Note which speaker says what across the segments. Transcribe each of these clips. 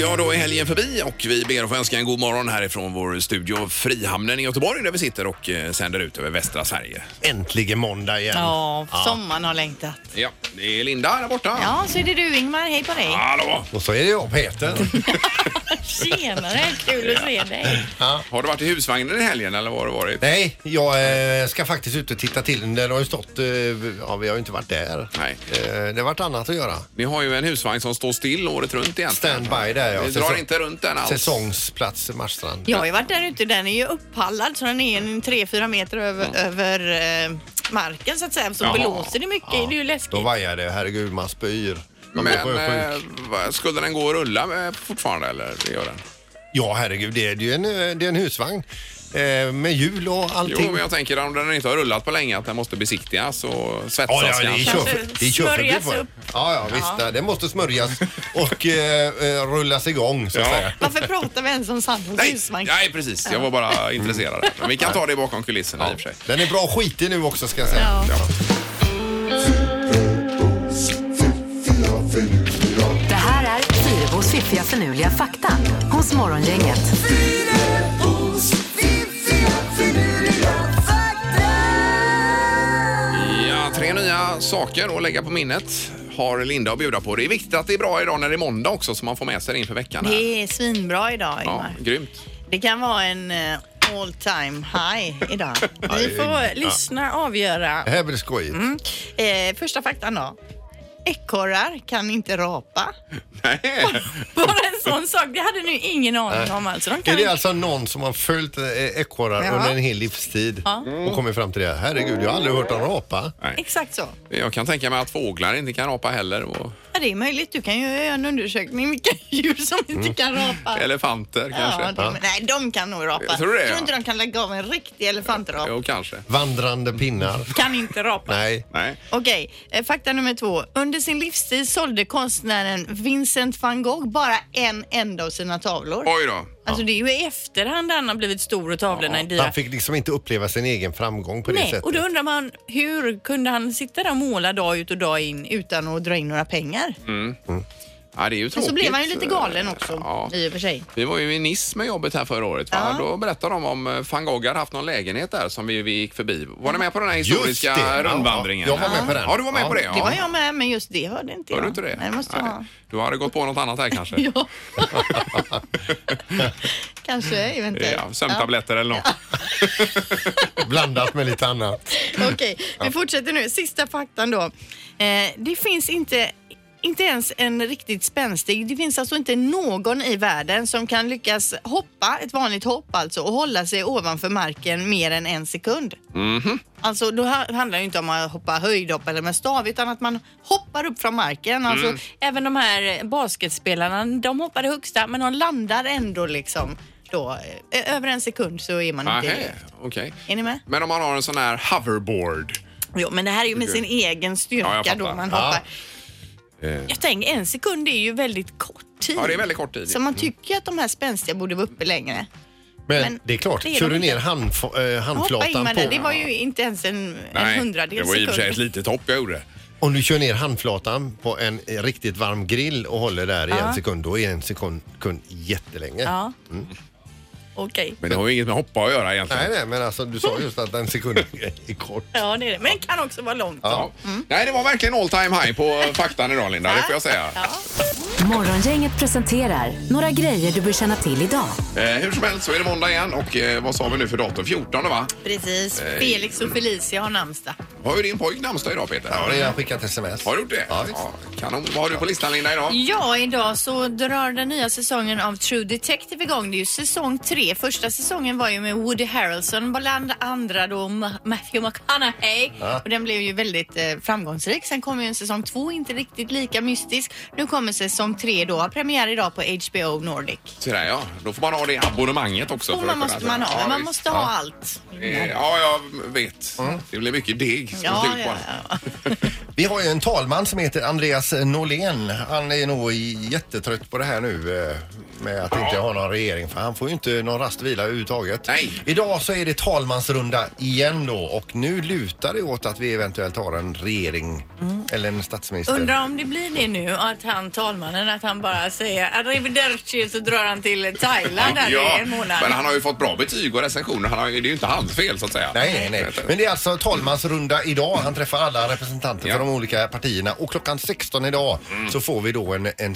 Speaker 1: Ja, då är helgen förbi och vi ber att få önska en god morgon härifrån vår studio Frihamnen i Göteborg där vi sitter och eh, sänder ut över västra Sverige.
Speaker 2: Äntligen måndag igen.
Speaker 3: Ja, sommaren har längtat.
Speaker 1: Ja, det är Linda där borta.
Speaker 3: Ja, så är det du Ingmar. Hej på dig.
Speaker 1: Hallå!
Speaker 2: Och så är det jag, Peter.
Speaker 3: Tjenare, kul att se dig.
Speaker 1: Har du varit i husvagnen i helgen eller vad har du varit?
Speaker 2: Nej, jag eh, ska faktiskt ut och titta till den. Den har ju stått... Eh, ja, vi har ju inte varit där.
Speaker 1: Nej.
Speaker 2: Eh, det har varit annat att göra.
Speaker 1: Vi har ju en husvagn som står still året runt egentligen.
Speaker 2: Standby där, ja.
Speaker 1: Vi drar
Speaker 2: Säsong-
Speaker 1: inte runt den alls.
Speaker 2: Säsongsplats i Marstrand.
Speaker 3: Jag har ju varit där ute. Den är ju upphallad så den är en 3-4 meter över, över eh, marken så att säga. Så
Speaker 1: Jaha.
Speaker 3: blåser det mycket. Det är ju läskigt.
Speaker 2: Då vajar det. Herregud, man spyr. Man blir
Speaker 1: Men
Speaker 2: sjösjuk.
Speaker 1: eh, vad- skulle den gå att rulla eh, fortfarande eller? Det gör den.
Speaker 2: Ja, herregud. Det är ju en, eh, det är en husvagn. Eh, med hjul och allting.
Speaker 1: Jo, men jag tänker om den inte har rullat på länge att den måste besiktigas och svetsas.
Speaker 2: Ja, ja, det är
Speaker 1: kanske.
Speaker 3: Kanske
Speaker 2: körförbud. Det är körförbud
Speaker 3: smörjas
Speaker 2: på det.
Speaker 3: upp.
Speaker 2: Ja, ja, visst. nej, Det måste smörjas och eh, eh, rullas igång så att
Speaker 1: Ja.
Speaker 2: säga.
Speaker 3: Varför pratar vi ens om Sandholms
Speaker 1: Nej,
Speaker 3: husvagn?
Speaker 1: nej, precis. Jag var bara intresserad. Men vi kan ta det bakom kulisserna i och för sig.
Speaker 2: Den är bra skitig nu också ska jag säga.
Speaker 3: Ja.
Speaker 4: Det här är Fyrabos fiffiga förnuliga fakta hos Morgongänget.
Speaker 1: Ja, tre nya saker att lägga på minnet har Linda att bjuda på. Det är viktigt att det är bra idag när det är måndag också så man får med sig det inför veckan. Här.
Speaker 3: Det är svinbra idag
Speaker 1: Ja,
Speaker 3: Ingmar.
Speaker 1: grymt.
Speaker 3: Det kan vara en eh, all time high idag. Vi får lyssna och avgöra.
Speaker 2: Det här blir skojigt.
Speaker 3: Eh, första faktan då. Ekorrar kan inte rapa.
Speaker 1: Nej.
Speaker 3: Bara en sån sak. Det hade ni ju ingen aning om alltså. De
Speaker 2: Är
Speaker 3: kan
Speaker 2: det
Speaker 3: inte...
Speaker 2: alltså någon som har följt eh, ekorrar
Speaker 3: Ja.
Speaker 2: under en hel livstid och kommit fram till det? här? Herregud, jag har aldrig hört honom apa.
Speaker 3: Exakt så.
Speaker 1: Jag kan tänka mig att fåglar inte kan apa heller. Och
Speaker 3: Ja, det är möjligt. Du kan ju göra en undersökning vilka djur som inte kan rapa.
Speaker 1: elefanter
Speaker 3: Ja,
Speaker 1: Mm. kanske.
Speaker 3: de, nej, de kan nog rapa.
Speaker 1: Jag tror det,
Speaker 3: tror
Speaker 1: ja.
Speaker 3: inte de kan lägga av en riktig elefantrap.
Speaker 1: Jo, kanske.
Speaker 2: Vandrande pinnar.
Speaker 3: Kan inte rapa.
Speaker 2: Nej.
Speaker 1: Nej.
Speaker 3: Okej, eh, fakta nummer två. Under sin livstid sålde konstnären Vincent van Gogh bara en enda av sina tavlor.
Speaker 1: Oj då.
Speaker 3: Alltså det är ju i efterhand han har blivit stor och tavlorna är dyra.
Speaker 2: Han fick liksom inte uppleva sin egen framgång på det
Speaker 3: Nej,
Speaker 2: sättet.
Speaker 3: och då undrar man hur kunde han sitta där och måla dag ut och dag in utan att dra in några pengar?
Speaker 1: Ja, det är ju
Speaker 3: Men
Speaker 1: Mm. tråkigt.
Speaker 3: så blev han ju lite galen också
Speaker 1: Ja.
Speaker 3: i och för sig.
Speaker 1: Vi var ju i Nice med jobbet här förra året. Va? Då berättade de om eh, van Gogh hade haft någon lägenhet där som vi, vi gick förbi. Var ni med på den här historiska
Speaker 2: det, ja.
Speaker 1: rundvandringen?
Speaker 2: Jag var med på den.
Speaker 1: Ja, du var med
Speaker 2: Ja.
Speaker 1: på det. Ja.
Speaker 3: Det var jag med, men just det hörde inte
Speaker 1: Var
Speaker 3: jag.
Speaker 1: du inte det?
Speaker 3: Nej, det måste jag ha.
Speaker 1: Du hade gått på något annat här kanske?
Speaker 3: Ja. Kanske, eventuellt.
Speaker 1: ja, sömntabletter eller något.
Speaker 2: Blandat med lite annat.
Speaker 3: Okej, vi fortsätter nu. Sista faktan då. Eh, det finns inte inte ens en riktigt spänstig. Det finns alltså inte någon i världen som kan lyckas hoppa, ett vanligt hopp alltså, och hålla sig ovanför marken mer än en sekund. Alltså då ha- handlar det ju inte om att hoppa höjdhopp eller med stav utan att man hoppar upp från marken. Alltså, Även de här basketspelarna, de hoppar det högsta men de landar ändå liksom då. eh, Över en sekund så är man inte i
Speaker 1: Nähä,
Speaker 3: luft.
Speaker 1: okej.
Speaker 3: Är ni med?
Speaker 1: Men om man har en sån här hoverboard.
Speaker 3: Jo, men det här är ju med sin egen
Speaker 1: Ja,
Speaker 3: styrka
Speaker 1: jag fattar.
Speaker 3: då man
Speaker 2: Ja.
Speaker 3: hoppar. Jag tänker, en sekund är ju väldigt kort tid.
Speaker 1: Ja, det är väldigt kort tid.
Speaker 3: Så man tycker ju att de här spänstiga borde vara uppe längre.
Speaker 2: Men,
Speaker 3: Men
Speaker 2: det är klart,
Speaker 3: det är
Speaker 2: kör
Speaker 3: de
Speaker 2: du
Speaker 3: inte.
Speaker 2: ner handf- eh,
Speaker 3: Hoppa in
Speaker 2: handflatan
Speaker 3: med
Speaker 2: på...
Speaker 3: det. Det var ju inte ens en, en
Speaker 1: Nej,
Speaker 3: hundradel
Speaker 1: det var i och för sig ett
Speaker 3: sekund.
Speaker 1: litet hopp jag gjorde.
Speaker 2: Om du kör ner handflatan på en eh, riktigt varm grill och håller där i en sekund, då är en sekund sekund jättelänge.
Speaker 3: Ja.
Speaker 1: Mm.
Speaker 3: Okej.
Speaker 1: Men det har ju inget med hoppa att göra egentligen.
Speaker 2: Nej, nej, men alltså du sa just att en sekund är kort.
Speaker 3: Ja, det är det. Men det kan också vara långt.
Speaker 1: Ja.
Speaker 3: Mm.
Speaker 1: Nej, det var verkligen all time high på eh, faktan idag Linda, det får jag säga.
Speaker 4: Morgongänget presenterar några grejer du bör känna till idag.
Speaker 1: Eh, hur som helst så är det måndag igen och eh, vad sa vi nu för datum? 14 va?
Speaker 3: Precis. Felix och Felicia har namnsdag.
Speaker 1: Har ju din pojk namnsdag idag Peter?
Speaker 2: Ja, det har jag skickat sms.
Speaker 1: Har du gjort det?
Speaker 2: Ja,
Speaker 1: kanon. Vad har du på listan Linda idag?
Speaker 3: Ja, idag så drar den nya säsongen av True Detective igång. Det är ju säsong tre. Första säsongen var ju med Woody Harrelson, bland andra då Ma- Matthew McConaughey. Och den blev ju väldigt eh, framgångsrik. Sen kom ju en säsong två, inte riktigt lika mystisk. Nu kommer säsong tre då, har premiär idag på HBO Nordic.
Speaker 1: Så där, ja. Då får man ha det abonnemanget också.
Speaker 3: Och
Speaker 1: för att
Speaker 3: man
Speaker 1: kunna-
Speaker 3: måste man ha,
Speaker 1: Ja,
Speaker 3: men man
Speaker 1: visst.
Speaker 3: måste ha allt.
Speaker 1: Eh, Ja, jag vet. Det blir mycket deg som
Speaker 3: Ja,
Speaker 1: ja,
Speaker 3: ja, ja.
Speaker 2: Vi har ju en talman som heter Andreas Norlén. Han är nog jättetrött på det här nu eh, med att inte ha någon regering för han får ju inte någon rast och vila överhuvudtaget.
Speaker 1: Nej.
Speaker 2: Idag så är det talmansrunda igen då och nu lutar det åt att vi eventuellt har en regering eller en statsminister.
Speaker 3: Mm. Undrar om det blir det nu att han, talmannen, att han bara säger arrivederci så drar han till Thailand där i en månad.
Speaker 1: men han har ju fått bra betyg och recensioner. Han har, ju- det är ju inte hans fel så att säga.
Speaker 2: Nej, nej, nej. Men det är alltså talmansrunda idag. Han träffar alla representanter
Speaker 1: Ja. Mm.
Speaker 2: för de olika partierna och klockan 16 idag så får vi då en, en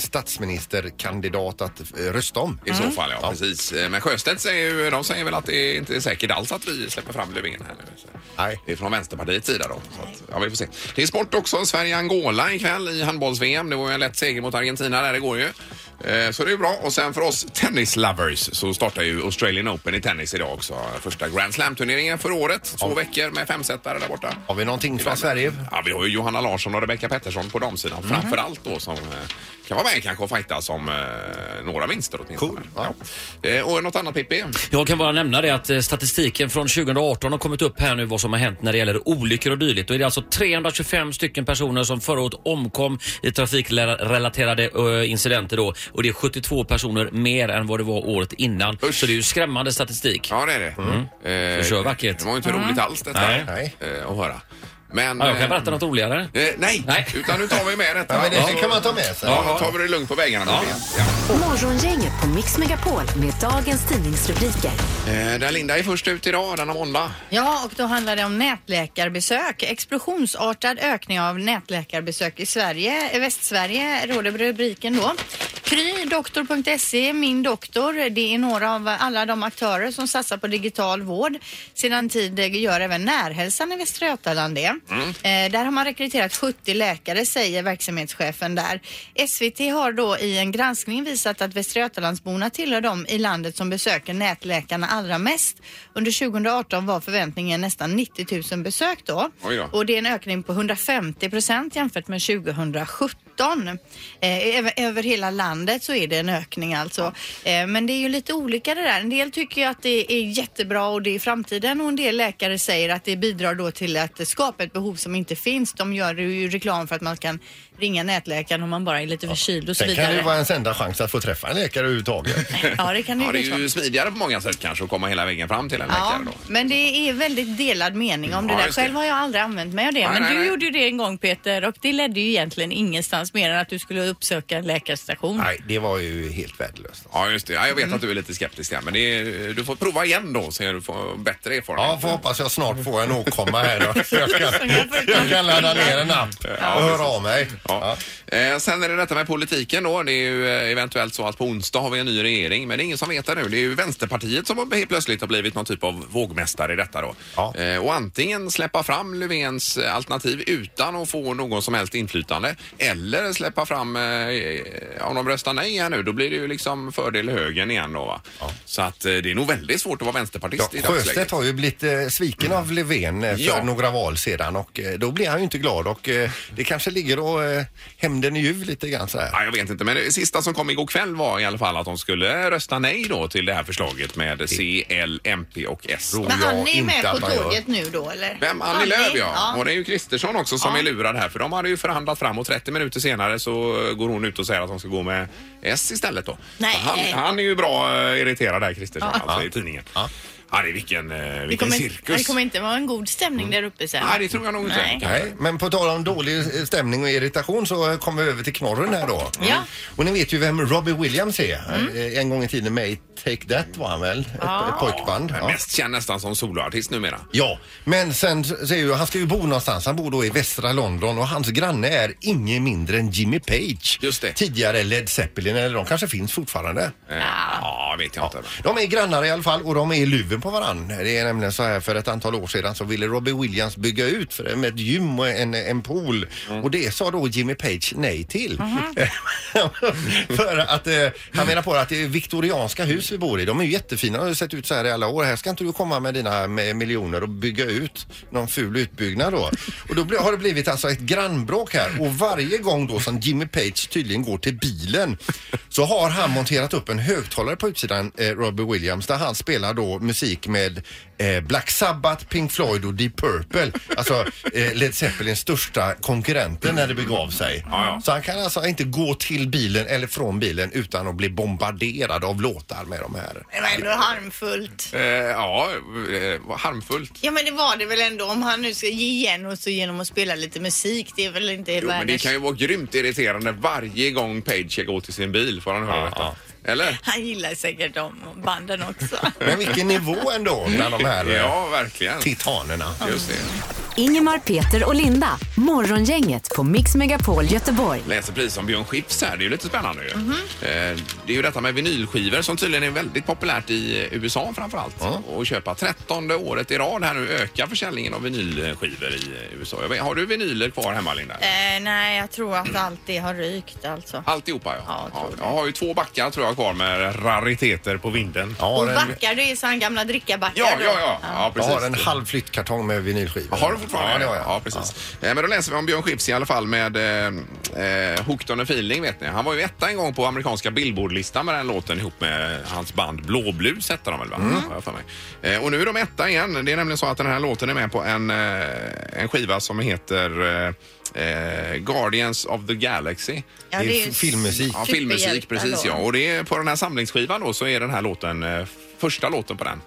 Speaker 2: statsministerkandidat att eh, rösta om.
Speaker 1: I så fall, ja, precis. Eh, Men Sjöstedt säger ju, de säger väl att det inte är säkert alls att vi släpper fram Löfven här nu. Så.
Speaker 2: Nej.
Speaker 1: Det är från Vänsterpartiets sida då. Så att, ja, vi får se. Det är sport också. Sverige-Angola ikväll i handbolls-VM. Det var ju en lätt seger mot Argentina där igår ju. Eh, Så det är bra. Och sen för oss tennislovers så startar ju Australian Open i tennis idag också. Första Grand Slam-turneringen för året. Två veckor med femsetare där borta.
Speaker 2: Har vi någonting från Sverige? Mhm.
Speaker 1: Ja, vi har ju Johanna Larsson och Rebecca Pettersson på damsidan framför allt då som eh, kan vara med kanske och fightas om eh, några vinster åtminstone.
Speaker 2: Cool, ja.
Speaker 1: Ja. Eh, Och något annat Pippi?
Speaker 5: Jag kan bara nämna det att eh, statistiken från 2018 har kommit upp här nu vad som har hänt när det gäller olyckor och dylikt. Och det är alltså 325 stycken personer som förra året omkom i trafikrelaterade eh, incidenter då. Och det är 72 personer mer än vad det var året innan.
Speaker 1: Usch.
Speaker 5: Så det är ju skrämmande statistik.
Speaker 1: Ja, det är det.
Speaker 2: Mm.
Speaker 1: Eh,
Speaker 5: Så kör vackert.
Speaker 1: Det var ju inte roligt alls detta
Speaker 5: Nej.
Speaker 2: Nej.
Speaker 1: Eh, att höra. Men,
Speaker 5: Ja, jag kan
Speaker 1: eh,
Speaker 5: berätta något roligare.
Speaker 1: eh, nej.
Speaker 5: Nej.
Speaker 1: utan nu tar vi med detta.
Speaker 2: Ja, men
Speaker 1: Ja.
Speaker 2: det kan man ta med sig.
Speaker 1: Ja, då tar vi det lugnt på vägarna. Ja.
Speaker 4: Morgongänget på Mix Megapol med dagens tidningsrubriker.
Speaker 1: Eh, där Linda är först ut idag, denna måndag.
Speaker 3: Ja, och då handlar det om nätläkarbesök. Explosionsartad ökning av nätläkarbesök i Sverige, i Västsverige råder rubriken då. Kry, doktor.se, Min doktor, det är några av alla de aktörer som satsar på digital vård. Sedan tid gör även Närhälsan i Västra Götaland det.
Speaker 1: Mm.
Speaker 3: Eh, där har man rekryterat 70 läkare säger verksamhetschefen där. SVT har då i en granskning visat att Västra Götalandsborna tillhör de i landet som besöker nätläkarna allra mest. Under 2018 var förväntningen nästan 90 000 besök då.
Speaker 1: Oj då.
Speaker 3: Och det är en ökning på 150 procent jämfört med 2017. Eh, över, över hela landet så är det en ökning alltså. Eh, men det är ju lite olika det där. En del tycker ju att det är jättebra och det är framtiden och en del läkare säger att det bidrar då till att skapa ett behov som inte finns. De gör ju reklam för att man kan ringa nätläkaren om man bara är lite förkyld och så
Speaker 2: Sen kan det ju vara
Speaker 3: vidare.
Speaker 2: ens enda chans att få träffa en läkare överhuvudtaget.
Speaker 3: Ja, det kan det
Speaker 1: Ja, det
Speaker 3: ju
Speaker 1: är
Speaker 3: vara.
Speaker 1: ju smidigare på många sätt kanske att komma hela vägen fram till en
Speaker 3: Ja,
Speaker 1: läkare då.
Speaker 3: men det är väldigt delad mening om det
Speaker 1: Ja,
Speaker 3: där.
Speaker 1: just det.
Speaker 3: Själv har jag aldrig använt mig av det.
Speaker 1: Nej,
Speaker 3: men
Speaker 1: nej,
Speaker 3: du
Speaker 1: nej.
Speaker 3: gjorde ju det en gång Peter och det ledde ju egentligen ingenstans mer än att du skulle uppsöka en läkarstation.
Speaker 2: Nej, det var ju helt värdelöst.
Speaker 1: Ja, just det. Ja, jag vet att du är lite skeptisk där, men det är, du får prova igen då så du får bättre erfarenhet.
Speaker 2: Ja, får hoppas jag snart får en åkomma här då. Så Jag kan, jag kan ladda ner en app och höra av mig.
Speaker 1: Ja.
Speaker 2: Ja.
Speaker 1: Eh, sen är det detta med politiken då. Det är ju eh, eventuellt så att på onsdag har vi en ny regering, men det är ingen som vet det nu. Det är ju Vänsterpartiet som har helt plötsligt har blivit någon typ av vågmästare i detta då.
Speaker 2: Ja.
Speaker 1: Eh, och antingen släppa fram Löfvens eh, alternativ utan att få någon som helst inflytande eller släppa fram, eh, om de röstar nej här nu, då blir det ju liksom fördel högern igen då va. Så att eh, det är nog väldigt svårt att vara vänsterpartist i
Speaker 2: Ja,
Speaker 1: dagsläget.
Speaker 2: Sjöstedt har ju blivit eh, sviken av Löfven eh, för
Speaker 1: Ja.
Speaker 2: några val sedan och eh, då blir han ju inte glad och eh, det kanske ligger och eh, hämnden i ljuv lite grann så här.
Speaker 1: Ja, jag vet inte, men det sista som kom igår kväll var i alla fall att de skulle rösta nej då till det här förslaget med C, L, MP och S.
Speaker 2: Ro.
Speaker 3: Men
Speaker 2: jag
Speaker 3: han är
Speaker 2: inte
Speaker 3: med
Speaker 2: att
Speaker 3: på
Speaker 2: man gör.
Speaker 3: tåget nu då eller?
Speaker 1: Vem? Annie Lööf ja. Och det är ju Kristersson också som är lurad här för de hade ju förhandlat fram och 30 minuter senare så eh, går hon ut och säger att hon ska gå med S istället då.
Speaker 3: Nej.
Speaker 1: Så Han, han är ju bra eh, irriterad där Kristersson alltså i tidningen.
Speaker 2: Ja.
Speaker 1: Ja, det är vilken, eh,
Speaker 3: Det
Speaker 1: vilken
Speaker 3: kommer,
Speaker 1: cirkus.
Speaker 3: det kommer inte vara en god stämning där uppe sen.
Speaker 1: Nej, det tror jag nog inte.
Speaker 3: Nej.
Speaker 1: kanske.
Speaker 2: Nej, men på tal om dålig eh, stämning och irritation så eh, kommer vi över till knorren här då. Mm.
Speaker 3: Ja.
Speaker 2: Och ni vet ju vem Robbie Williams är. Eh, En gång i tiden med i Take That var han väl? Ett, ett pojkband.
Speaker 1: Men
Speaker 2: Ja.
Speaker 1: Mest känd nästan som soloartist numera.
Speaker 2: Ja, men sen så är ju, han ska ju bo någonstans. Han bor då i västra London och hans granne är ingen mindre än Jimmy Page.
Speaker 1: Just det.
Speaker 2: Tidigare Led Zeppelin, eller de kanske finns fortfarande.
Speaker 1: Eh, Ja, vet jag inte. men-
Speaker 2: De är grannar i alla fall och de är i luven på varann. Det är nämligen så här för ett antal år sedan så ville Robbie Williams bygga ut för med ett gym och en, en pool och det sa då Jimmy Page nej till. för att eh, han menar på att det är viktorianska hus hus vi bor i, de är ju jättefina och har sett ut så här i alla år. Här ska inte du komma med dina med miljoner och bygga ut någon ful utbyggnad då. Och då blir- har det blivit alltså ett grannbråk här och varje gång då som Jimmy Page tydligen går till bilen så har han monterat upp en högtalare på utsidan, eh, Robbie Williams, där han spelar då musik med eh, Black Sabbath, Pink Floyd och Deep Purple. Alltså eh, Led Zeppelins största konkurrenter när det begav sig.
Speaker 1: Ja, ja.
Speaker 2: Så han kan alltså inte gå till bilen eller från bilen utan att bli bombarderad av låtar med de här.
Speaker 3: Det var ändå harmfullt.
Speaker 1: Eh, ja, eh, vad harmfullt.
Speaker 3: Ja men det var det väl ändå om han nu ska ge igen och så genom att spela lite musik. Det är väl inte
Speaker 1: Jo, men det
Speaker 3: världens...
Speaker 1: kan ju vara grymt irriterande varje gång Page ska gå till sin bil får han höra detta. Eller?
Speaker 3: Han gillar säkert de banden också.
Speaker 2: Men vilken nivå ändå bland de här eh,
Speaker 1: Ja, verkligen.
Speaker 2: titanerna.
Speaker 1: Just det.
Speaker 4: Ingemar, Peter och Linda. Morgongänget på Mix Megapol Göteborg.
Speaker 1: Läser precis om Björn Skifs här, det är ju lite spännande ju.
Speaker 3: Mhm.
Speaker 1: Eh, Det är ju detta med vinylskivor som tydligen är väldigt populärt i USA framförallt. Och köpa 13 året i rad här nu ökar försäljningen av vinylskivor i USA. Jag vet- Har du vinyler kvar hemma Linda?
Speaker 3: eh, nej, jag tror att allt det har rykt alltså.
Speaker 1: Alltihopa ja.
Speaker 3: Ja, jag tror det.
Speaker 1: jag har ju två backar tror jag kvar med rariteter på vinden.
Speaker 2: Jag
Speaker 3: Och
Speaker 2: har en,
Speaker 3: backar, det är så han gamla drickabackar
Speaker 1: Ja,
Speaker 3: då.
Speaker 1: ja, ja. ja
Speaker 2: jag
Speaker 1: precis.
Speaker 2: har en halv flyttkartong med vinylskivor.
Speaker 1: Har du fortfarande?
Speaker 2: Ja, det har jag.
Speaker 1: Ja, precis. Eh, Men då läser vi om Björn Skifs i alla fall med eh, eh, Hooked on a feeling vet ni. Han var ju etta en gång på amerikanska Billboard-listan med den låten ihop med hans band Blåblus hette de väl
Speaker 2: Mm.
Speaker 1: va? Har jag för mig. Eh, Och nu är de etta igen. Det är nämligen så att den här låten är med på en, eh, en skiva som heter eh, eh, Guardians of the Galaxy.
Speaker 3: Ja,
Speaker 2: Det är
Speaker 3: ju
Speaker 2: filmmusik.
Speaker 1: Ja, filmmusik,
Speaker 3: superhjältar
Speaker 1: precis
Speaker 3: då.
Speaker 1: ja. Och det är på den här samlingsskivan då så är den här låten eh, första låten på den.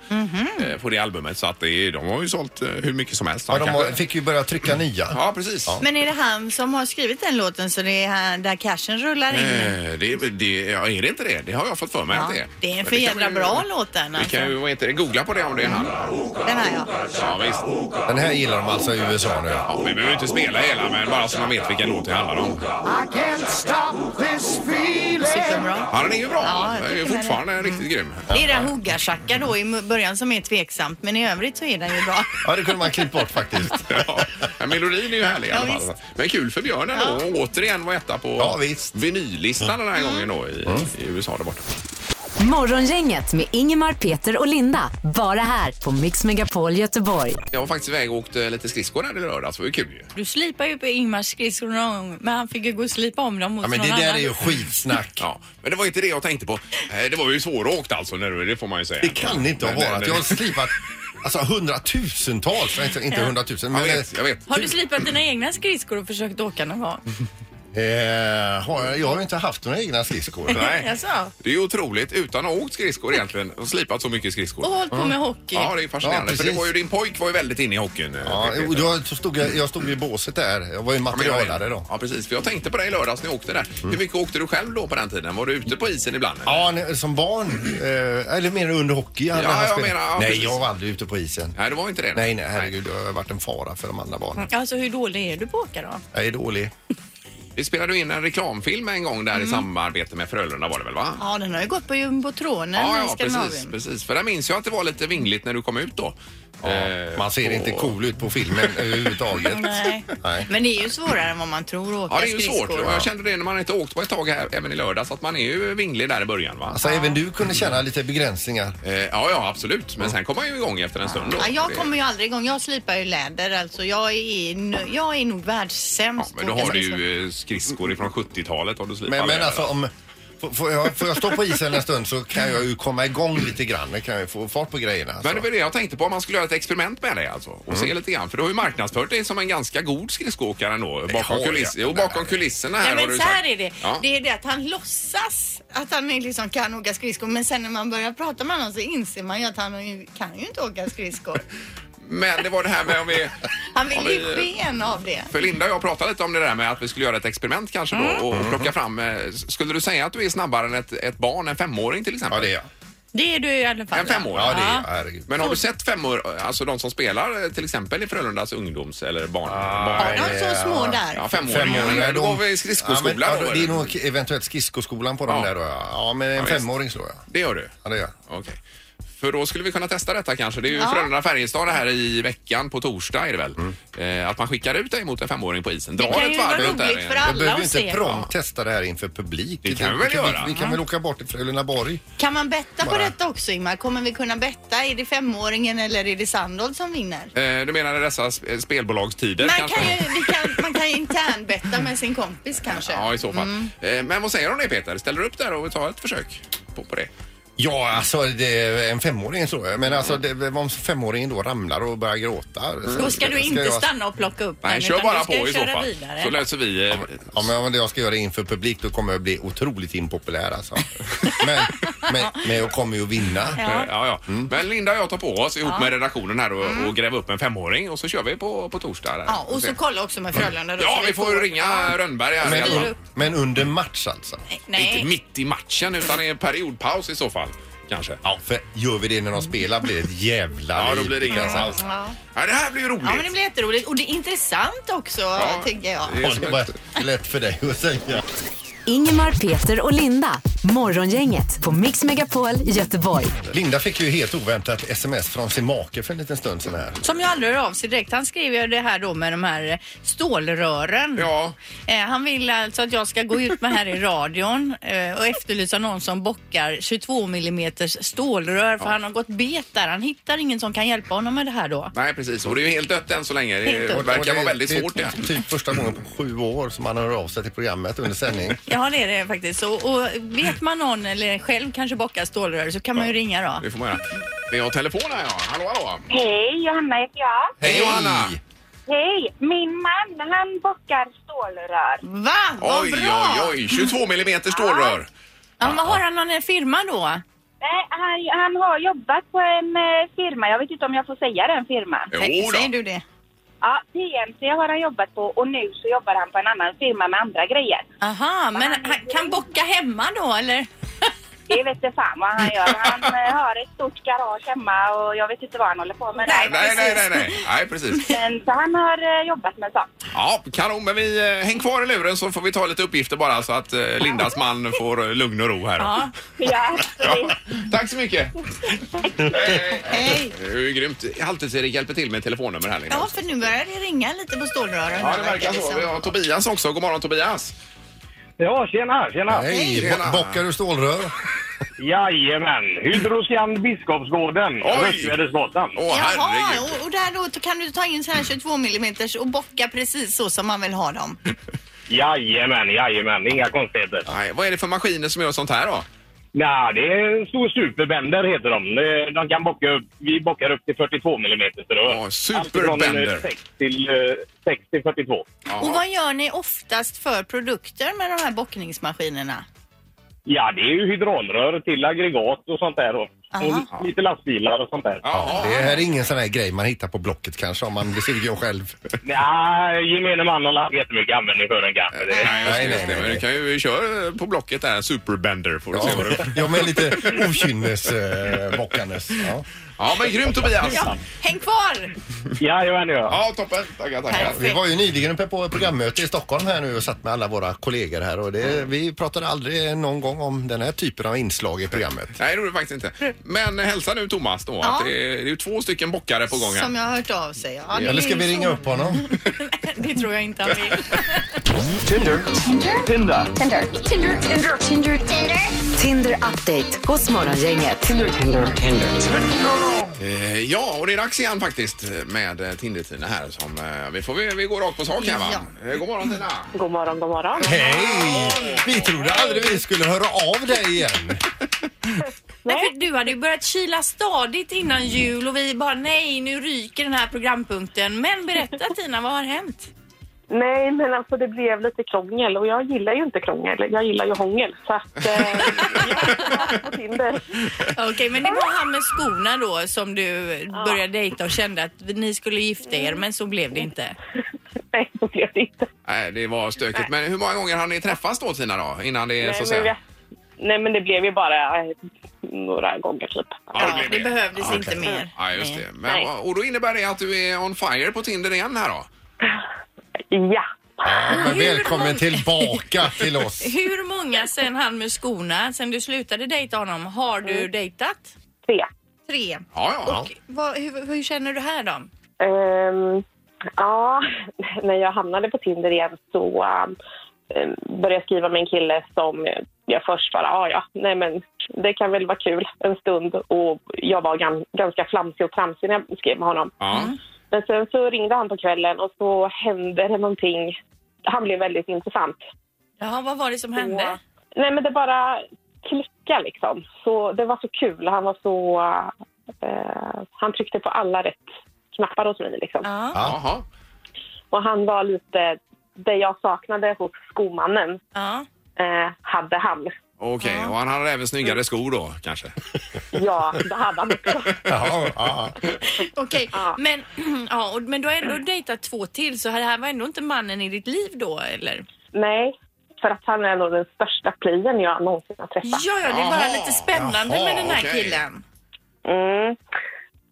Speaker 1: eh, På det albumet. Så att det är, de har ju sålt eh, hur mycket som helst.
Speaker 2: Ja, de
Speaker 1: Kanske-
Speaker 2: har, fick ju börja trycka nya.
Speaker 1: Ja, precis.
Speaker 3: Men är det han som har skrivit den låten så det är han där cashen rullar in?
Speaker 1: Eh, Det, det, ja, är det inte det? Det har jag fått för mig
Speaker 3: Ja,
Speaker 1: att det är.
Speaker 3: det är en
Speaker 1: Men
Speaker 3: för
Speaker 1: kan vi
Speaker 3: jädra
Speaker 1: ju-
Speaker 3: bra låt den
Speaker 1: Vi
Speaker 3: alltså.
Speaker 1: kan ju vad heter det, googla på det om det är han.
Speaker 3: Den här ja.
Speaker 1: Ja, visst.
Speaker 2: Den här gillar de alltså i USA nu.
Speaker 1: Ja, vi behöver inte spela hela, men bara så man vet vilken låt det handlar om.
Speaker 3: Superbra.
Speaker 1: Ja, den är ju bra.
Speaker 3: Ja, jag
Speaker 1: den är ju
Speaker 3: tycker den är- Mm.
Speaker 1: fortfarande riktigt grym.
Speaker 3: Det är den huggarsacka då i början som är tveksamt men i övrigt så är den ju bra.
Speaker 2: Ja, det kunde man klippt bort faktiskt.
Speaker 1: Ja, men melodin är ju härlig i alla
Speaker 3: Ja,
Speaker 1: fall. Men kul för Björn ändå. Och återigen var etta på
Speaker 2: Ja, visst. Mm.
Speaker 1: vinyllistan den här
Speaker 3: Mm.
Speaker 1: gången då i, i USA där borta.
Speaker 4: Morgongänget med Ingemar, Peter och Linda. Bara här på Mix Megapol Göteborg.
Speaker 1: Jag var faktiskt iväg och åkte lite skridskor där i lördags. Det var ju kul ju.
Speaker 3: Du slipar ju på Ingmars skridskor någon gång men han fick ju gå och slipa om dem hos
Speaker 2: Ja, men det
Speaker 3: någon
Speaker 2: där
Speaker 3: annan.
Speaker 2: är ju skitsnack.
Speaker 1: Ja, men det var inte det jag tänkte på. Eh, Det var ju svåråkt alltså, när du- det får man ju säga.
Speaker 2: Det kan inte ha
Speaker 1: Men- men-
Speaker 2: varit. Jag har slipat alltså, hundratusentals, inte, inte hundratusen. Men,
Speaker 1: Jag vet, jag vet.
Speaker 3: Har du slipat dina egna skridskor och försökt åka någon gång?
Speaker 2: Eh, har jag, jag har ju inte haft några egna skridskor.
Speaker 1: Nej.
Speaker 3: Jaså?
Speaker 1: Det är ju otroligt utan att ha åkt skridskor egentligen och slipat så mycket skridskor.
Speaker 3: Och hållit på med hockey?
Speaker 1: Ja, det är
Speaker 2: Ja,
Speaker 1: fascinerande.
Speaker 2: precis.
Speaker 1: för det var ju, din pojk var ju väldigt inne i hockeyn. eh,
Speaker 2: Ja,
Speaker 1: Peter.
Speaker 2: och då stod jag, jag stod ju i båset där. Jag var ju
Speaker 1: Ja, men jag vet.
Speaker 2: materialare då. Mm.
Speaker 1: Ja, precis. För jag tänkte på dig i lördags när jag åkte där. Hur mycket åkte du själv då på den tiden? Var du ute på isen ibland? eller?
Speaker 2: Ja, nej, som barn. Eh, eller mer under hockey. när
Speaker 1: Ja,
Speaker 2: han
Speaker 1: jag
Speaker 2: spelade.
Speaker 1: menar, ja,
Speaker 2: nej,
Speaker 1: precis.
Speaker 2: jag var aldrig ute på isen.
Speaker 1: Nej, det var inte det.
Speaker 2: Nej, nej, herregud. Det har varit en fara för de andra barnen.
Speaker 3: Alltså hur dålig är du på att åka då?
Speaker 2: Jag är dålig.
Speaker 1: Vi spelade ju in en reklamfilm en gång där
Speaker 3: Mm.
Speaker 1: i samarbete med Frölunda var det väl va?
Speaker 3: Ja, den har ju gått på jumbotronen
Speaker 1: Ja,
Speaker 3: i
Speaker 1: ja
Speaker 3: Skandinavien.
Speaker 1: precis, precis. För där minns jag att det var lite vingligt när du kom ut då. Eh,
Speaker 2: Man ser inte
Speaker 1: och-
Speaker 2: cool ut på filmen överhuvudtaget.
Speaker 3: Nej.
Speaker 2: Nej.
Speaker 3: Men det är ju svårare än vad man tror att åka
Speaker 1: Ja, det är ju svårt.
Speaker 3: skridskor.
Speaker 1: Och jag kände det när man inte åkt på ett tag här, även i lördags, att man är ju vinglig där i början va?
Speaker 2: Alltså, även du kunde känna lite begränsningar.
Speaker 1: Eh, ja, ja, absolut. Men sen kom man ju igång efter en stund. Då.
Speaker 3: Ja, jag
Speaker 1: Det-
Speaker 3: kommer ju aldrig igång. Jag slipar ju läder. Alltså, jag, är, n- jag är nog
Speaker 1: Ja,
Speaker 3: världssämst.
Speaker 1: men då
Speaker 3: på att
Speaker 1: har
Speaker 3: åka
Speaker 1: du
Speaker 3: skridskor.
Speaker 1: ju eh, skridskor
Speaker 3: Mm.
Speaker 1: ifrån 70-talet om du slipar
Speaker 2: Men, men
Speaker 1: läder.
Speaker 2: alltså om... Får får jag, får jag stå på isen en stund så kan jag ju komma igång lite grann. Det kan jag ju få fart på grejerna.
Speaker 1: Men
Speaker 2: Alltså.
Speaker 1: det var det jag tänkte på, om man skulle göra ett experiment med dig alltså
Speaker 2: Mm.
Speaker 1: och se lite grann. För du har ju marknadsfört dig som en ganska god skridskoåkare ändå. Bakom,
Speaker 2: har jag.
Speaker 1: kuliss- jo, bakom kulisserna här
Speaker 3: Nej,
Speaker 1: har du
Speaker 3: men så här
Speaker 1: sagt.
Speaker 3: är det.
Speaker 1: Ja.
Speaker 3: Det är det att han låtsas att han är liksom kan åka skridskor men sen när man börjar prata med honom så inser man ju att han ju- kan ju inte åka skridskor.
Speaker 1: Men det var det här med om vi...
Speaker 3: Han vill
Speaker 1: om vi-
Speaker 3: ju sken av det.
Speaker 1: För Linda och jag pratade lite om det där med att vi skulle göra ett experiment kanske då
Speaker 2: Mm.
Speaker 1: och plocka fram... eh, Skulle du säga att du är snabbare än ett, ett barn, en femåring till exempel?
Speaker 2: Ja, det är jag.
Speaker 3: Det är du i alla fall.
Speaker 1: En femåring?
Speaker 2: Ja, det är jag. Herregud.
Speaker 1: Men har du sett femåring, alltså de som spelar eh, till exempel i Frölundas ungdoms eller barn...
Speaker 2: Ah,
Speaker 1: barn
Speaker 3: Har de så små där?
Speaker 1: ja,
Speaker 2: Femåringar,
Speaker 1: femåringar. Då
Speaker 2: de-
Speaker 1: går vi i skridskoskolan.
Speaker 2: Ja, men,
Speaker 1: då,
Speaker 2: ja, det är
Speaker 1: eller?
Speaker 2: nog eventuellt skridskoskolan på dem
Speaker 1: Ja.
Speaker 2: där då. Ja, ja men en
Speaker 1: visst.
Speaker 2: femåring slår jag.
Speaker 1: det gör du?
Speaker 2: Ja, det gör jag.
Speaker 1: Okej. För då skulle vi kunna testa detta kanske. Det är ju Frölunda-Färjestad det här i veckan på torsdag är det väl.
Speaker 2: Mm.
Speaker 1: Eh, att man skickar ut dig mot en femåring på isen. Dra
Speaker 3: kan
Speaker 1: ett
Speaker 3: ju
Speaker 1: varv
Speaker 3: vara
Speaker 1: runt där.
Speaker 3: roligt
Speaker 1: igen.
Speaker 3: för
Speaker 2: Jag behöver
Speaker 3: alla
Speaker 2: ju
Speaker 3: att
Speaker 2: inte
Speaker 3: se.
Speaker 2: prompt testa det här inför publik.
Speaker 1: Det kan vi väl göra. Mm.
Speaker 2: Vi, vi kan väl åka bort till Frölundaborg.
Speaker 3: Kan man betta på
Speaker 2: Bara-
Speaker 3: detta också Ingmar? Kommer vi kunna betta? Är det femåringen eller är det Sandholt som vinner?
Speaker 1: Eh, du menar dessa sp- eh, spelbolagstider
Speaker 3: Man
Speaker 1: kanske?
Speaker 3: kan ju, vi kan, man kan ju internbetta med sin kompis kanske.
Speaker 1: Ja, i så fall. Eh, men vad säger du om det Peter? Ställer du upp där och vi tar ett försök på, på det?
Speaker 2: Ja, alltså det är en femåring tror jag. Men
Speaker 6: Mm.
Speaker 2: alltså det, om femåringen då ramlar och börjar gråta. eh,
Speaker 6: Då ska du inte
Speaker 2: jag,
Speaker 6: stanna och plocka upp
Speaker 1: Nej,
Speaker 6: den,
Speaker 1: kör
Speaker 6: utan
Speaker 1: bara
Speaker 6: du ska
Speaker 1: på i så
Speaker 6: köra
Speaker 1: fall.
Speaker 6: vidare.
Speaker 1: Så löser vi... Eh,
Speaker 2: Ja, men om jag ska göra det inför publik då kommer jag bli otroligt impopulär alltså. men, men, men jag kommer ju att vinna.
Speaker 1: Ja. Ja, ja. Men Linda och jag tar på oss ihop med redaktionen här och, och gräver upp en femåring och så kör vi på, på torsdag. Där.
Speaker 3: Ja, och så kolla också med Frölunda då.
Speaker 1: ja,
Speaker 3: så
Speaker 1: vi får ringa Rönnberg här. i alla fall.
Speaker 2: Men, men under match alltså.
Speaker 6: Nej.
Speaker 1: Inte mitt i matchen utan i en periodpaus i så fall. Kanske. Ja,
Speaker 2: För gör vi det när de spelar blir det ett jävla
Speaker 1: ja då
Speaker 2: liv.
Speaker 1: blir det inget alls.
Speaker 3: Ja.
Speaker 1: Ja, det här blir ju roligt.
Speaker 3: Ja, men det blir jätteroligt och det är intressant också tycker jag.
Speaker 1: Det är som
Speaker 2: Det
Speaker 1: ett-
Speaker 2: var lätt för dig att säga.
Speaker 4: Ingemar, Peter och Linda. Morgongänget på Mix Megapol Göteborg.
Speaker 2: Linda fick ju helt oväntat sms från sin make för en liten stund sedan här.
Speaker 3: Som ju aldrig hör av sig direkt. Han skrev ju det här då med de här eh, stålrören.
Speaker 1: Ja.
Speaker 3: Eh, han vill alltså att jag ska gå ut med här i radion eh, och efterlysa någon som bockar 22 mm stålrör för han har gått bet där. Han hittar ingen som kan hjälpa honom med det här då.
Speaker 1: Nej, precis. Och det är ju helt dött än så länge. Det
Speaker 3: Helt dött.
Speaker 1: verkar
Speaker 2: Och
Speaker 1: vara väldigt
Speaker 2: det är
Speaker 1: svårt det.
Speaker 2: Typ första gången på sju år som han hör av sig till programmet under sändning.
Speaker 3: Ja det är det faktiskt. Och, och vet man någon eller själv kanske bockar stålrör så kan man ju ringa då.
Speaker 1: Det får man göra. Vi har telefonen här, ja. Hallå, hallå.
Speaker 7: Hej, Johanna heter jag.
Speaker 1: Hej, Johanna!
Speaker 7: Hej! Min man, han bockar stålrör.
Speaker 3: Va? Vad
Speaker 1: Oj,
Speaker 3: bra!
Speaker 1: oj, oj. 22 millimeter stålrör.
Speaker 3: Ja, men har han någon eh, firma då?
Speaker 7: Nej, han, han har jobbat på en eh, firma. Jag vet inte om jag får säga den firman.
Speaker 1: Jo
Speaker 3: Nej,
Speaker 1: då.
Speaker 3: Säger du det?
Speaker 7: Ja, PMC har han jobbat på och nu så jobbar han på en annan firma med andra grejer.
Speaker 3: Aha, men han kan bocka hemma då eller?
Speaker 7: Det vet inte fan vad han gör. Han eh, har ett stort garage hemma och jag vet inte vad han håller på med där.
Speaker 1: Nej, nej, nej, nej. Nej, precis.
Speaker 7: Men, så han har eh, jobbat med sånt.
Speaker 1: Ja, kanon. Men vi eh, häng kvar i luren så får vi ta lite uppgifter bara så att eh, Lindas man får eh, lugn och ro här.
Speaker 3: Ja.
Speaker 7: Ja,
Speaker 1: Ja, tack så mycket. Hej, hej.
Speaker 3: Hej!
Speaker 1: Det är ju grymt. Halvtids-Erik hjälper till med telefonnummer här. Linda.
Speaker 3: Ja, för nu börjar det ringa lite på stålrören.
Speaker 1: Ja,
Speaker 3: här,
Speaker 1: det verkar
Speaker 3: det
Speaker 1: så.
Speaker 3: som.
Speaker 1: Vi har Tobias också. God morgon Tobias.
Speaker 8: Ja, tjena, tjena.
Speaker 2: Hej!
Speaker 1: Hej.
Speaker 2: bo- Bockar du stålrör?
Speaker 8: Jajamän. Hydroskan Biskopsgården,
Speaker 1: Oj!
Speaker 8: Röstvädersgatan.
Speaker 1: Åh,
Speaker 3: Jaha,
Speaker 1: herregud.
Speaker 3: och, och där då kan du ta in så här 22 mm och bocka precis så som man vill ha dem.
Speaker 8: Jajamän, jajamän. Inga konstigheter.
Speaker 1: Nej, vad är det för maskiner som gör sånt här då?
Speaker 8: Nej, det är en stor superbender heter de. Eh, De kan bocka upp, vi bockar upp till 42 mm.
Speaker 1: Ja, superbender.
Speaker 8: 6 till, eh, 6 till 42.
Speaker 3: Och
Speaker 1: Jaha.
Speaker 3: vad gör ni oftast för produkter med de här bockningsmaskinerna?
Speaker 8: Ja, det är ju hydraulrör till aggregat och sånt där då.
Speaker 3: Aha.
Speaker 8: Och lite lastbilar och sånt där.
Speaker 1: Ja,
Speaker 2: Det här är ingen sån här grej man hittar på Blocket kanske om man blir sugen själv.
Speaker 8: Nej, gemene man har inte jättemycket användning för den kanske. Det är-
Speaker 1: Nej,
Speaker 2: Nej,
Speaker 1: just
Speaker 2: nej,
Speaker 1: det.
Speaker 2: nej,
Speaker 1: Men du
Speaker 2: nej.
Speaker 1: kan ju köra på blocket där, superbender får du se vad du...
Speaker 2: Ja, men lite okynnes eh, bockandes. Ja.
Speaker 1: Ja, men grymt Tobias!
Speaker 3: Ja, häng kvar!
Speaker 8: Jajamän, ja.
Speaker 1: Ja, toppen. Tackar, tackar.
Speaker 2: Vi var ju nyligen uppe på ett programmöte i Stockholm här nu och satt med alla våra kollegor här och det, vi pratade aldrig någon gång om den här typen av inslag i programmet.
Speaker 1: Nej, det gjorde det faktiskt inte. Men hälsa nu Thomas då
Speaker 3: Ja.
Speaker 1: att det är, det är ju två stycken bockare på gång här.
Speaker 3: Som jag har hört av sig. Ja, det
Speaker 2: Eller ska
Speaker 3: är
Speaker 2: vi
Speaker 3: ju
Speaker 2: ringa
Speaker 3: så-
Speaker 2: upp honom?
Speaker 3: Det tror jag inte han vill.
Speaker 4: Tinder update hos Morgongänget.
Speaker 1: Eh, Ja, och det är dags igen faktiskt med eh, Tinder-Tina här. Som, eh, vi, får, vi, vi går rakt på sak här va?
Speaker 3: Ja.
Speaker 1: Eh, God morgon Tina!
Speaker 7: God morgon, god morgon.
Speaker 2: Hej! Vi trodde aldrig vi skulle höra av dig igen.
Speaker 6: Nej, för du hade ju börjat kila stadigt innan jul och vi bara nej, nu ryker den här programpunkten. Men berätta Tina, vad har hänt?
Speaker 7: Nej, men alltså det blev lite krångel och jag gillar ju inte krångel. Jag gillar ju hångel. Så att, eh, jag på Tinder.
Speaker 6: Okej, men det var han med skorna då som du började dejta och kände att ni skulle gifta er, men så blev det inte.
Speaker 7: Nej, så blev det inte.
Speaker 1: Nej, det var stökigt. Men hur många gånger har ni träffats då Tina då? Innan det är så
Speaker 7: Nej
Speaker 1: att
Speaker 7: men,
Speaker 1: säga...
Speaker 7: vi, nej, men det blev ju bara eh, några gånger typ.
Speaker 1: Ja,
Speaker 6: Det
Speaker 1: blev
Speaker 6: behövdes
Speaker 1: Ja,
Speaker 6: inte
Speaker 1: okej.
Speaker 6: mer.
Speaker 1: Ja, just det. Men,
Speaker 7: Nej.
Speaker 1: vad- och då innebär det att du är on fire på Tinder igen här då?
Speaker 7: Ja.
Speaker 2: Ja, men
Speaker 6: Ah, Hur
Speaker 2: välkommen
Speaker 6: lång-
Speaker 2: tillbaka till oss.
Speaker 6: Hur många sen han med skorna, sen du slutade dejta honom, har du dejtat?
Speaker 7: Tre.
Speaker 3: Mm. Tre.
Speaker 1: Ja, ja.
Speaker 3: Och vad, hur, hur känner du här då?
Speaker 7: Ehm, ja, när jag hamnade på Tinder igen så ehm, började jag skriva med en kille som jag först bara, "Ah, ja ja, nej men det kan väl vara kul en stund och jag var gan, ganska flamsig och tramsig när jag skrev med honom.
Speaker 1: ja.
Speaker 3: Mm.
Speaker 7: Men sen så ringde han på kvällen och så hände det någonting. Han blev väldigt intressant.
Speaker 3: Jaha, vad var det som hände?
Speaker 7: Ja. Nej, men det bara klickade liksom. Så det var så kul. Han var så... Eh, han tryckte på alla rätt knappar hos mig liksom.
Speaker 3: Ja.
Speaker 1: Jaha.
Speaker 7: Och han var lite... Det jag saknade hos skomannen
Speaker 3: ja.
Speaker 7: eh, hade han.
Speaker 1: Okej, och han hade även snyggare skor då kanske?
Speaker 7: Ja, det hade han också.
Speaker 2: Ja, ja, ja.
Speaker 3: Okej,
Speaker 7: Ja.
Speaker 3: men, ja, Mm. och- men du har ändå dejtat två till så det här var ändå inte mannen i ditt liv då eller?
Speaker 7: Nej, för att han är nog den största playern jag någonsin har
Speaker 3: Ja,
Speaker 7: träffat.
Speaker 3: ja, det är
Speaker 1: Jaha.
Speaker 3: bara lite spännande
Speaker 2: Jaha,
Speaker 3: med den här
Speaker 1: okej.
Speaker 3: killen.
Speaker 7: Mm.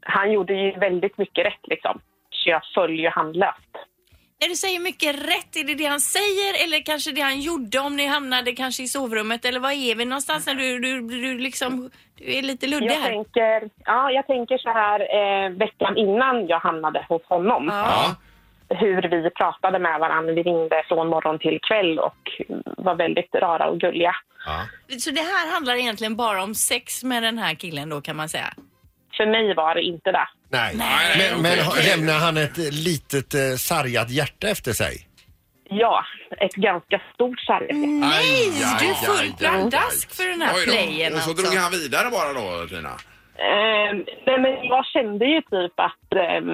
Speaker 7: Han gjorde ju väldigt mycket rätt liksom. Så jag följer han löst.
Speaker 3: När du säger mycket rätt, är det det han säger eller kanske det han gjorde om ni hamnade kanske i sovrummet eller var är vi någonstans när du, du, du liksom, du är lite luddig
Speaker 7: Jag
Speaker 3: här.
Speaker 7: tänker, ja, jag tänker så här eh, veckan innan jag hamnade hos honom.
Speaker 1: Ja.
Speaker 7: Hur vi pratade med varandra. Vi ringde från morgon till kväll och var väldigt rara och gulliga.
Speaker 3: Så det här handlar egentligen bara om sex med den här killen då kan man säga?
Speaker 7: För mig var det inte det.
Speaker 2: Nej.
Speaker 1: Nej, nej,
Speaker 2: Men,
Speaker 1: okej,
Speaker 2: men har-
Speaker 1: okej.
Speaker 2: lämnar han ett eh, litet eh, sargat hjärta efter sig?
Speaker 7: Ja, ett ganska stort sarg.
Speaker 1: Nej,
Speaker 3: Du är full pladask för den här
Speaker 1: Oj då.
Speaker 3: playen
Speaker 1: Och så
Speaker 3: alltså.
Speaker 1: drog han vidare bara då, Tina?
Speaker 7: Eh, nej, men jag kände ju typ att ehm,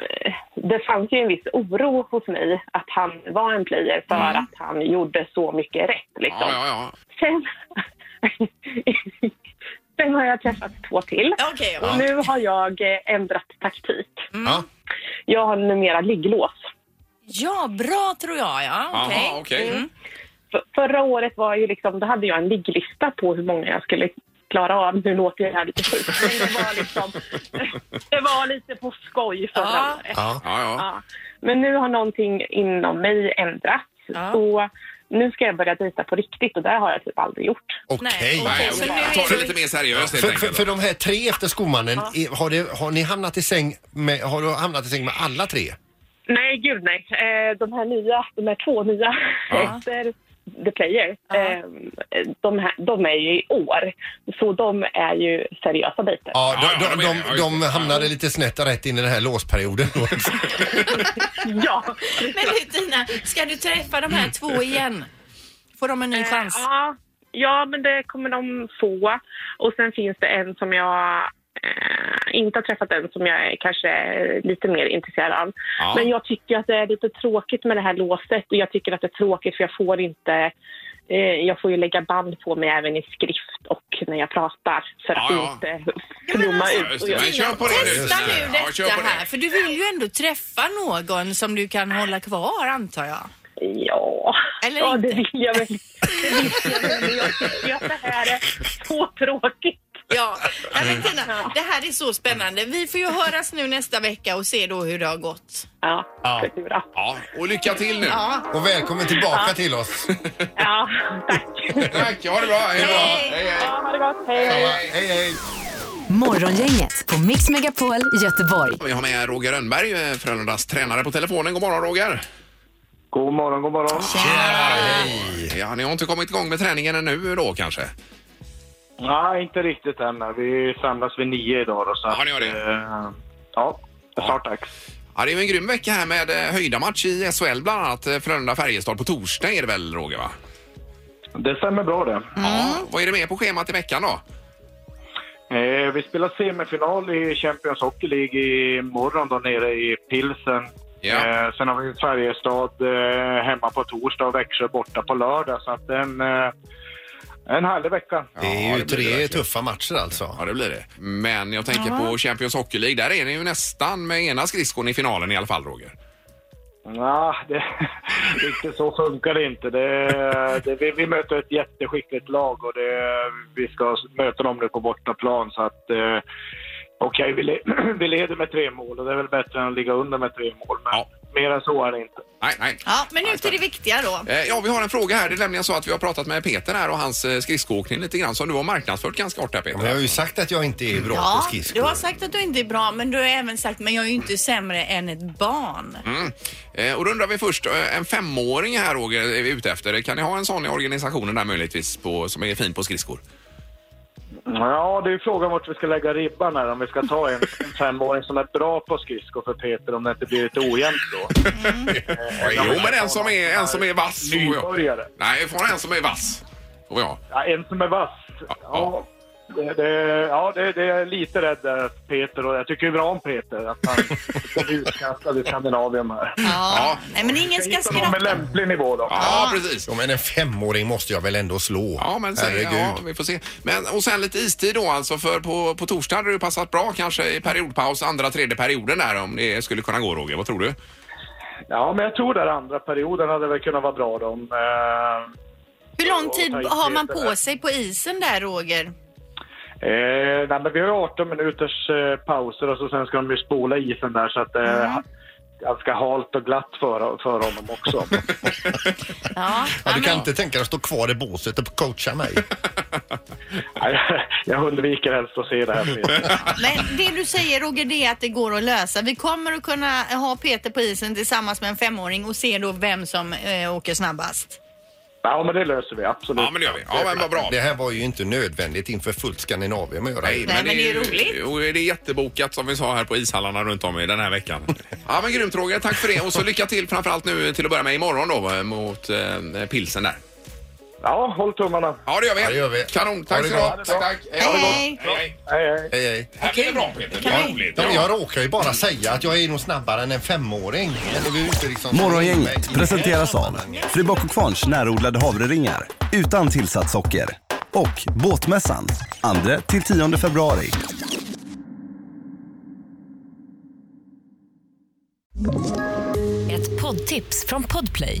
Speaker 7: eh, det fanns ju en viss oro hos mig att han var en player för att han gjorde så mycket rätt. Liksom.
Speaker 1: Mm. Ja, ja, ja.
Speaker 7: Sen... Sen har jag träffat två till.
Speaker 3: Okej,
Speaker 7: Och nu har jag eh, ändrat taktik.
Speaker 1: Mm.
Speaker 2: Ja.
Speaker 7: Jag har numera ligglås.
Speaker 3: ja bra tror jag ja.
Speaker 1: Jaha,
Speaker 3: Okej.
Speaker 1: okej.
Speaker 3: Mm.
Speaker 7: F- förra året var ju liksom, då hade jag en ligglista på hur många jag skulle klara av. Nu låter det här lite sjukt. Men det var liksom, det var lite på skoj förra
Speaker 3: Ja.
Speaker 7: året.
Speaker 2: Ja.
Speaker 1: Ja, ja.
Speaker 7: Ja. Men nu har någonting inom mig ändrats.
Speaker 3: Ja.
Speaker 7: Så nu ska jag börja dejta på riktigt och det har jag typ aldrig gjort.
Speaker 2: Okej.
Speaker 3: Nej,
Speaker 1: Nej,
Speaker 3: Så
Speaker 1: okej.
Speaker 3: nu är
Speaker 1: Ta det
Speaker 3: det-
Speaker 1: lite mer seriöst helt
Speaker 2: För, för,
Speaker 1: enkelt.
Speaker 2: för
Speaker 1: då.
Speaker 2: de här tre efter skomannen, är- har, det, har ni hamnat i säng med, har du hamnat i säng med alla tre?
Speaker 7: Nej, gud nej. Eh, de här nya, de här två nya
Speaker 1: Ja.
Speaker 7: efter The Player,
Speaker 3: Ja.
Speaker 7: eh, de, här, de är ju i år. Så de är ju seriösa dejter.
Speaker 2: Ja,
Speaker 1: Ja, ja,
Speaker 2: de,
Speaker 1: de är-
Speaker 2: de,
Speaker 1: ja,
Speaker 2: de,
Speaker 1: just
Speaker 2: de
Speaker 1: det.
Speaker 2: hamnade lite snett och rätt in i den här låsperioden. då.
Speaker 7: Ja.
Speaker 3: Men du Tina, ska du träffa de här två igen? Får de en ny chans?
Speaker 7: Eh, ja. Ja, men det kommer de få. Och sen finns det en som jag eh, inte har träffat än som jag är kanske lite mer intresserad av.
Speaker 1: Ja.
Speaker 7: Men jag tycker att det är lite tråkigt med det här låset och jag tycker att det är tråkigt för jag får inte eh, jag får ju lägga band på mig även i skrift och när jag pratar för att
Speaker 1: Ja, ja.
Speaker 7: inte flumma
Speaker 1: Ja,
Speaker 7: ut.
Speaker 1: just
Speaker 7: Och
Speaker 1: det.
Speaker 7: jag,
Speaker 1: Men alltså, kör på det
Speaker 3: Testa
Speaker 1: nu.
Speaker 3: nu
Speaker 1: Ja, kör
Speaker 3: detta
Speaker 1: på det.
Speaker 3: här, för du vill ju ändå träffa någon som du kan hålla kvar antar jag.
Speaker 7: ja,
Speaker 3: Eller
Speaker 7: ja det
Speaker 3: inte.
Speaker 7: vill jag väl. Det vill jag väl. men Jag tycker ju att det här är så tråkigt.
Speaker 3: Ja, Nej, men Tina, det här är så spännande. Vi får ju höras nu nästa vecka och se då hur det har gått.
Speaker 7: Ja,
Speaker 2: Ja.
Speaker 7: det blir bra.
Speaker 1: Ja, och lycka till nu.
Speaker 2: Och välkommen tillbaka till oss.
Speaker 7: Ja, tack.
Speaker 1: Tack, ha det bra. Hej då.
Speaker 3: Hej.
Speaker 1: Hej, hej.
Speaker 7: Ja, ha det gott. Hej.
Speaker 2: Hej, hej.
Speaker 4: Morgongänget på Mix Megapol Göteborg.
Speaker 1: Vi har med Roger Rönnberg, eh, Frölundas tränare, på telefonen. God morgon, Roger.
Speaker 8: God morgon, god morgon.
Speaker 1: Ja, ni har inte kommit igång med träningen ännu då kanske?
Speaker 8: Nej, inte riktigt än. Vi samlas vid nio idag då. Så
Speaker 1: Ja, ni gör det.
Speaker 8: eh, ja, snart dags.
Speaker 1: Ja, det är ju en grym vecka här med eh, höjdarmatch i SHL bland annat. eh, Frölunda-Färjestad på torsdag är det väl, Roger? Va?
Speaker 8: Det stämmer bra det.
Speaker 3: Mm.
Speaker 1: Ja. Vad är det med på schemat i veckan då?
Speaker 8: Eh, vi spelar semifinal i Champions Hockey League imorgon då nere i Pilsen.
Speaker 1: Ja.
Speaker 8: Eh, sen har vi Färjestad eh, hemma på torsdag och Växjö borta på lördag. Så att det är en, eh, en härlig vecka.
Speaker 2: Det är
Speaker 1: Ja,
Speaker 2: ju
Speaker 1: det blir det
Speaker 2: tre
Speaker 1: verkligen.
Speaker 2: tuffa matcher alltså.
Speaker 1: Ja, det blir det. Men jag tänker på Champions Hockey League. Där är ni ju nästan med ena skridskon i finalen i alla fall, Roger.
Speaker 8: Ja, Ah, det, riktigt så funkar det inte. Det, det, vi, vi möter ett jätteskickligt lag och det, vi ska möta dem nu på bortaplan. Så att, eh, okej, vi, le, vi leder med tre mål och det är väl bättre än att ligga under med tre mål. Men,
Speaker 1: Ja.
Speaker 8: Mer än så är det inte.
Speaker 1: Nej, nej.
Speaker 3: Ja, men nu till det viktiga då.
Speaker 1: Eh, Ja, vi har en fråga här. Det är nämligen så att vi har pratat med Peter här och hans eh, skridskoåkning lite grann som du har marknadsfört ganska hårt här Peter.
Speaker 2: Men jag har ju sagt att jag inte är bra på
Speaker 6: Ja, du
Speaker 2: skridskor.
Speaker 6: har sagt att du inte är bra, men du har även sagt men jag är ju inte sämre än ett barn.
Speaker 1: Eh, Och då undrar vi först, eh, en femåring här Roger är vi ute efter. Kan ni ha en sån i organisationen där möjligtvis på, som är fin på skridskor?
Speaker 8: Ja, det är ju frågan vart vi ska lägga ribban här. Om vi ska ta en, en femåring som är bra på skridskor för Peter, om det inte blir lite ojämnt då.
Speaker 1: Jo, men en som är, en som är vass. får vi ha.
Speaker 8: Nybörjare.
Speaker 1: Nej, vi får ha en som är vass. Får vi ha.
Speaker 8: Ja, en som är vass. Ja, det, det, ja det, det är lite rädd där att Peter, och jag tycker ju bra om Peter, att han blir utkastad i Skandinavien här.
Speaker 1: Ja.
Speaker 6: Nej, men ingen ska
Speaker 8: Hitta någon
Speaker 6: skratta.
Speaker 8: med lämplig nivå då.
Speaker 1: Ja, precis.
Speaker 2: Ja, men en femåring måste jag väl ändå slå?
Speaker 1: Ja, men sen, ja, vi får se. Men, och sen lite istid då alltså, för på, på torsdag hade det ju passat bra kanske i periodpaus, andra, tredje perioden där om det skulle kunna gå Roger. Vad tror du?
Speaker 8: Ja, men jag tror där andra perioden hade väl kunnat vara bra då. om, eh,
Speaker 3: Hur lång tid
Speaker 8: Ja,
Speaker 3: har man
Speaker 8: tajthet är
Speaker 3: på sig på isen där Roger?
Speaker 8: Eh, nej, men vi har ju 18 minuters eh, pauser och så sen ska de ju spola isen där så att det
Speaker 1: Mm.
Speaker 8: är ganska halt och glatt för, för honom också.
Speaker 6: Ja.
Speaker 2: Ja, du kan inte tänka dig att stå kvar i båset och coacha mig?
Speaker 8: Nej, jag undviker helst att se det här. Peter.
Speaker 3: Men det du säger Roger, det är att det går att lösa. Vi kommer att kunna ha Peter på isen tillsammans med en femåring och se då vem som eh, åker snabbast.
Speaker 8: Ja, men det löser vi absolut.
Speaker 1: Ja, men det gör vi. Ja, men vad bra.
Speaker 2: Det här var ju inte nödvändigt inför fullt Skandinavien att göra.
Speaker 1: Nej,
Speaker 6: men det är roligt.
Speaker 1: Och det är jättebokat som vi sa här på ishallarna runt om i den här veckan. ja, men grymt Roger. Tack för det. Och så lycka till framförallt nu till att börja med imorgon då eh, mot eh, pilsen där.
Speaker 8: Ja, håll tummarna.
Speaker 1: Ja, det gör vi.
Speaker 2: Ja, det gör vi.
Speaker 1: Kanon.
Speaker 2: Ha
Speaker 1: Tack
Speaker 2: det
Speaker 1: ska du ha.
Speaker 2: gott.
Speaker 1: Tack, tack.
Speaker 3: Hej,
Speaker 1: ha det gott.
Speaker 3: hej.
Speaker 1: hej.
Speaker 8: Hej, hej.
Speaker 2: Hej, hej.
Speaker 1: Här blir det bra Peter. Det var roligt.
Speaker 2: Ja, jag råkar ju bara säga att jag är nog snabbare än en femåring. Men det är ju inte liksom-
Speaker 9: Morgongänget presenteras av Fribock och Kvarns närodlade havreringar utan tillsatt socker och Båtmässan 2-10 februari.
Speaker 10: Ett poddtips från Podplay.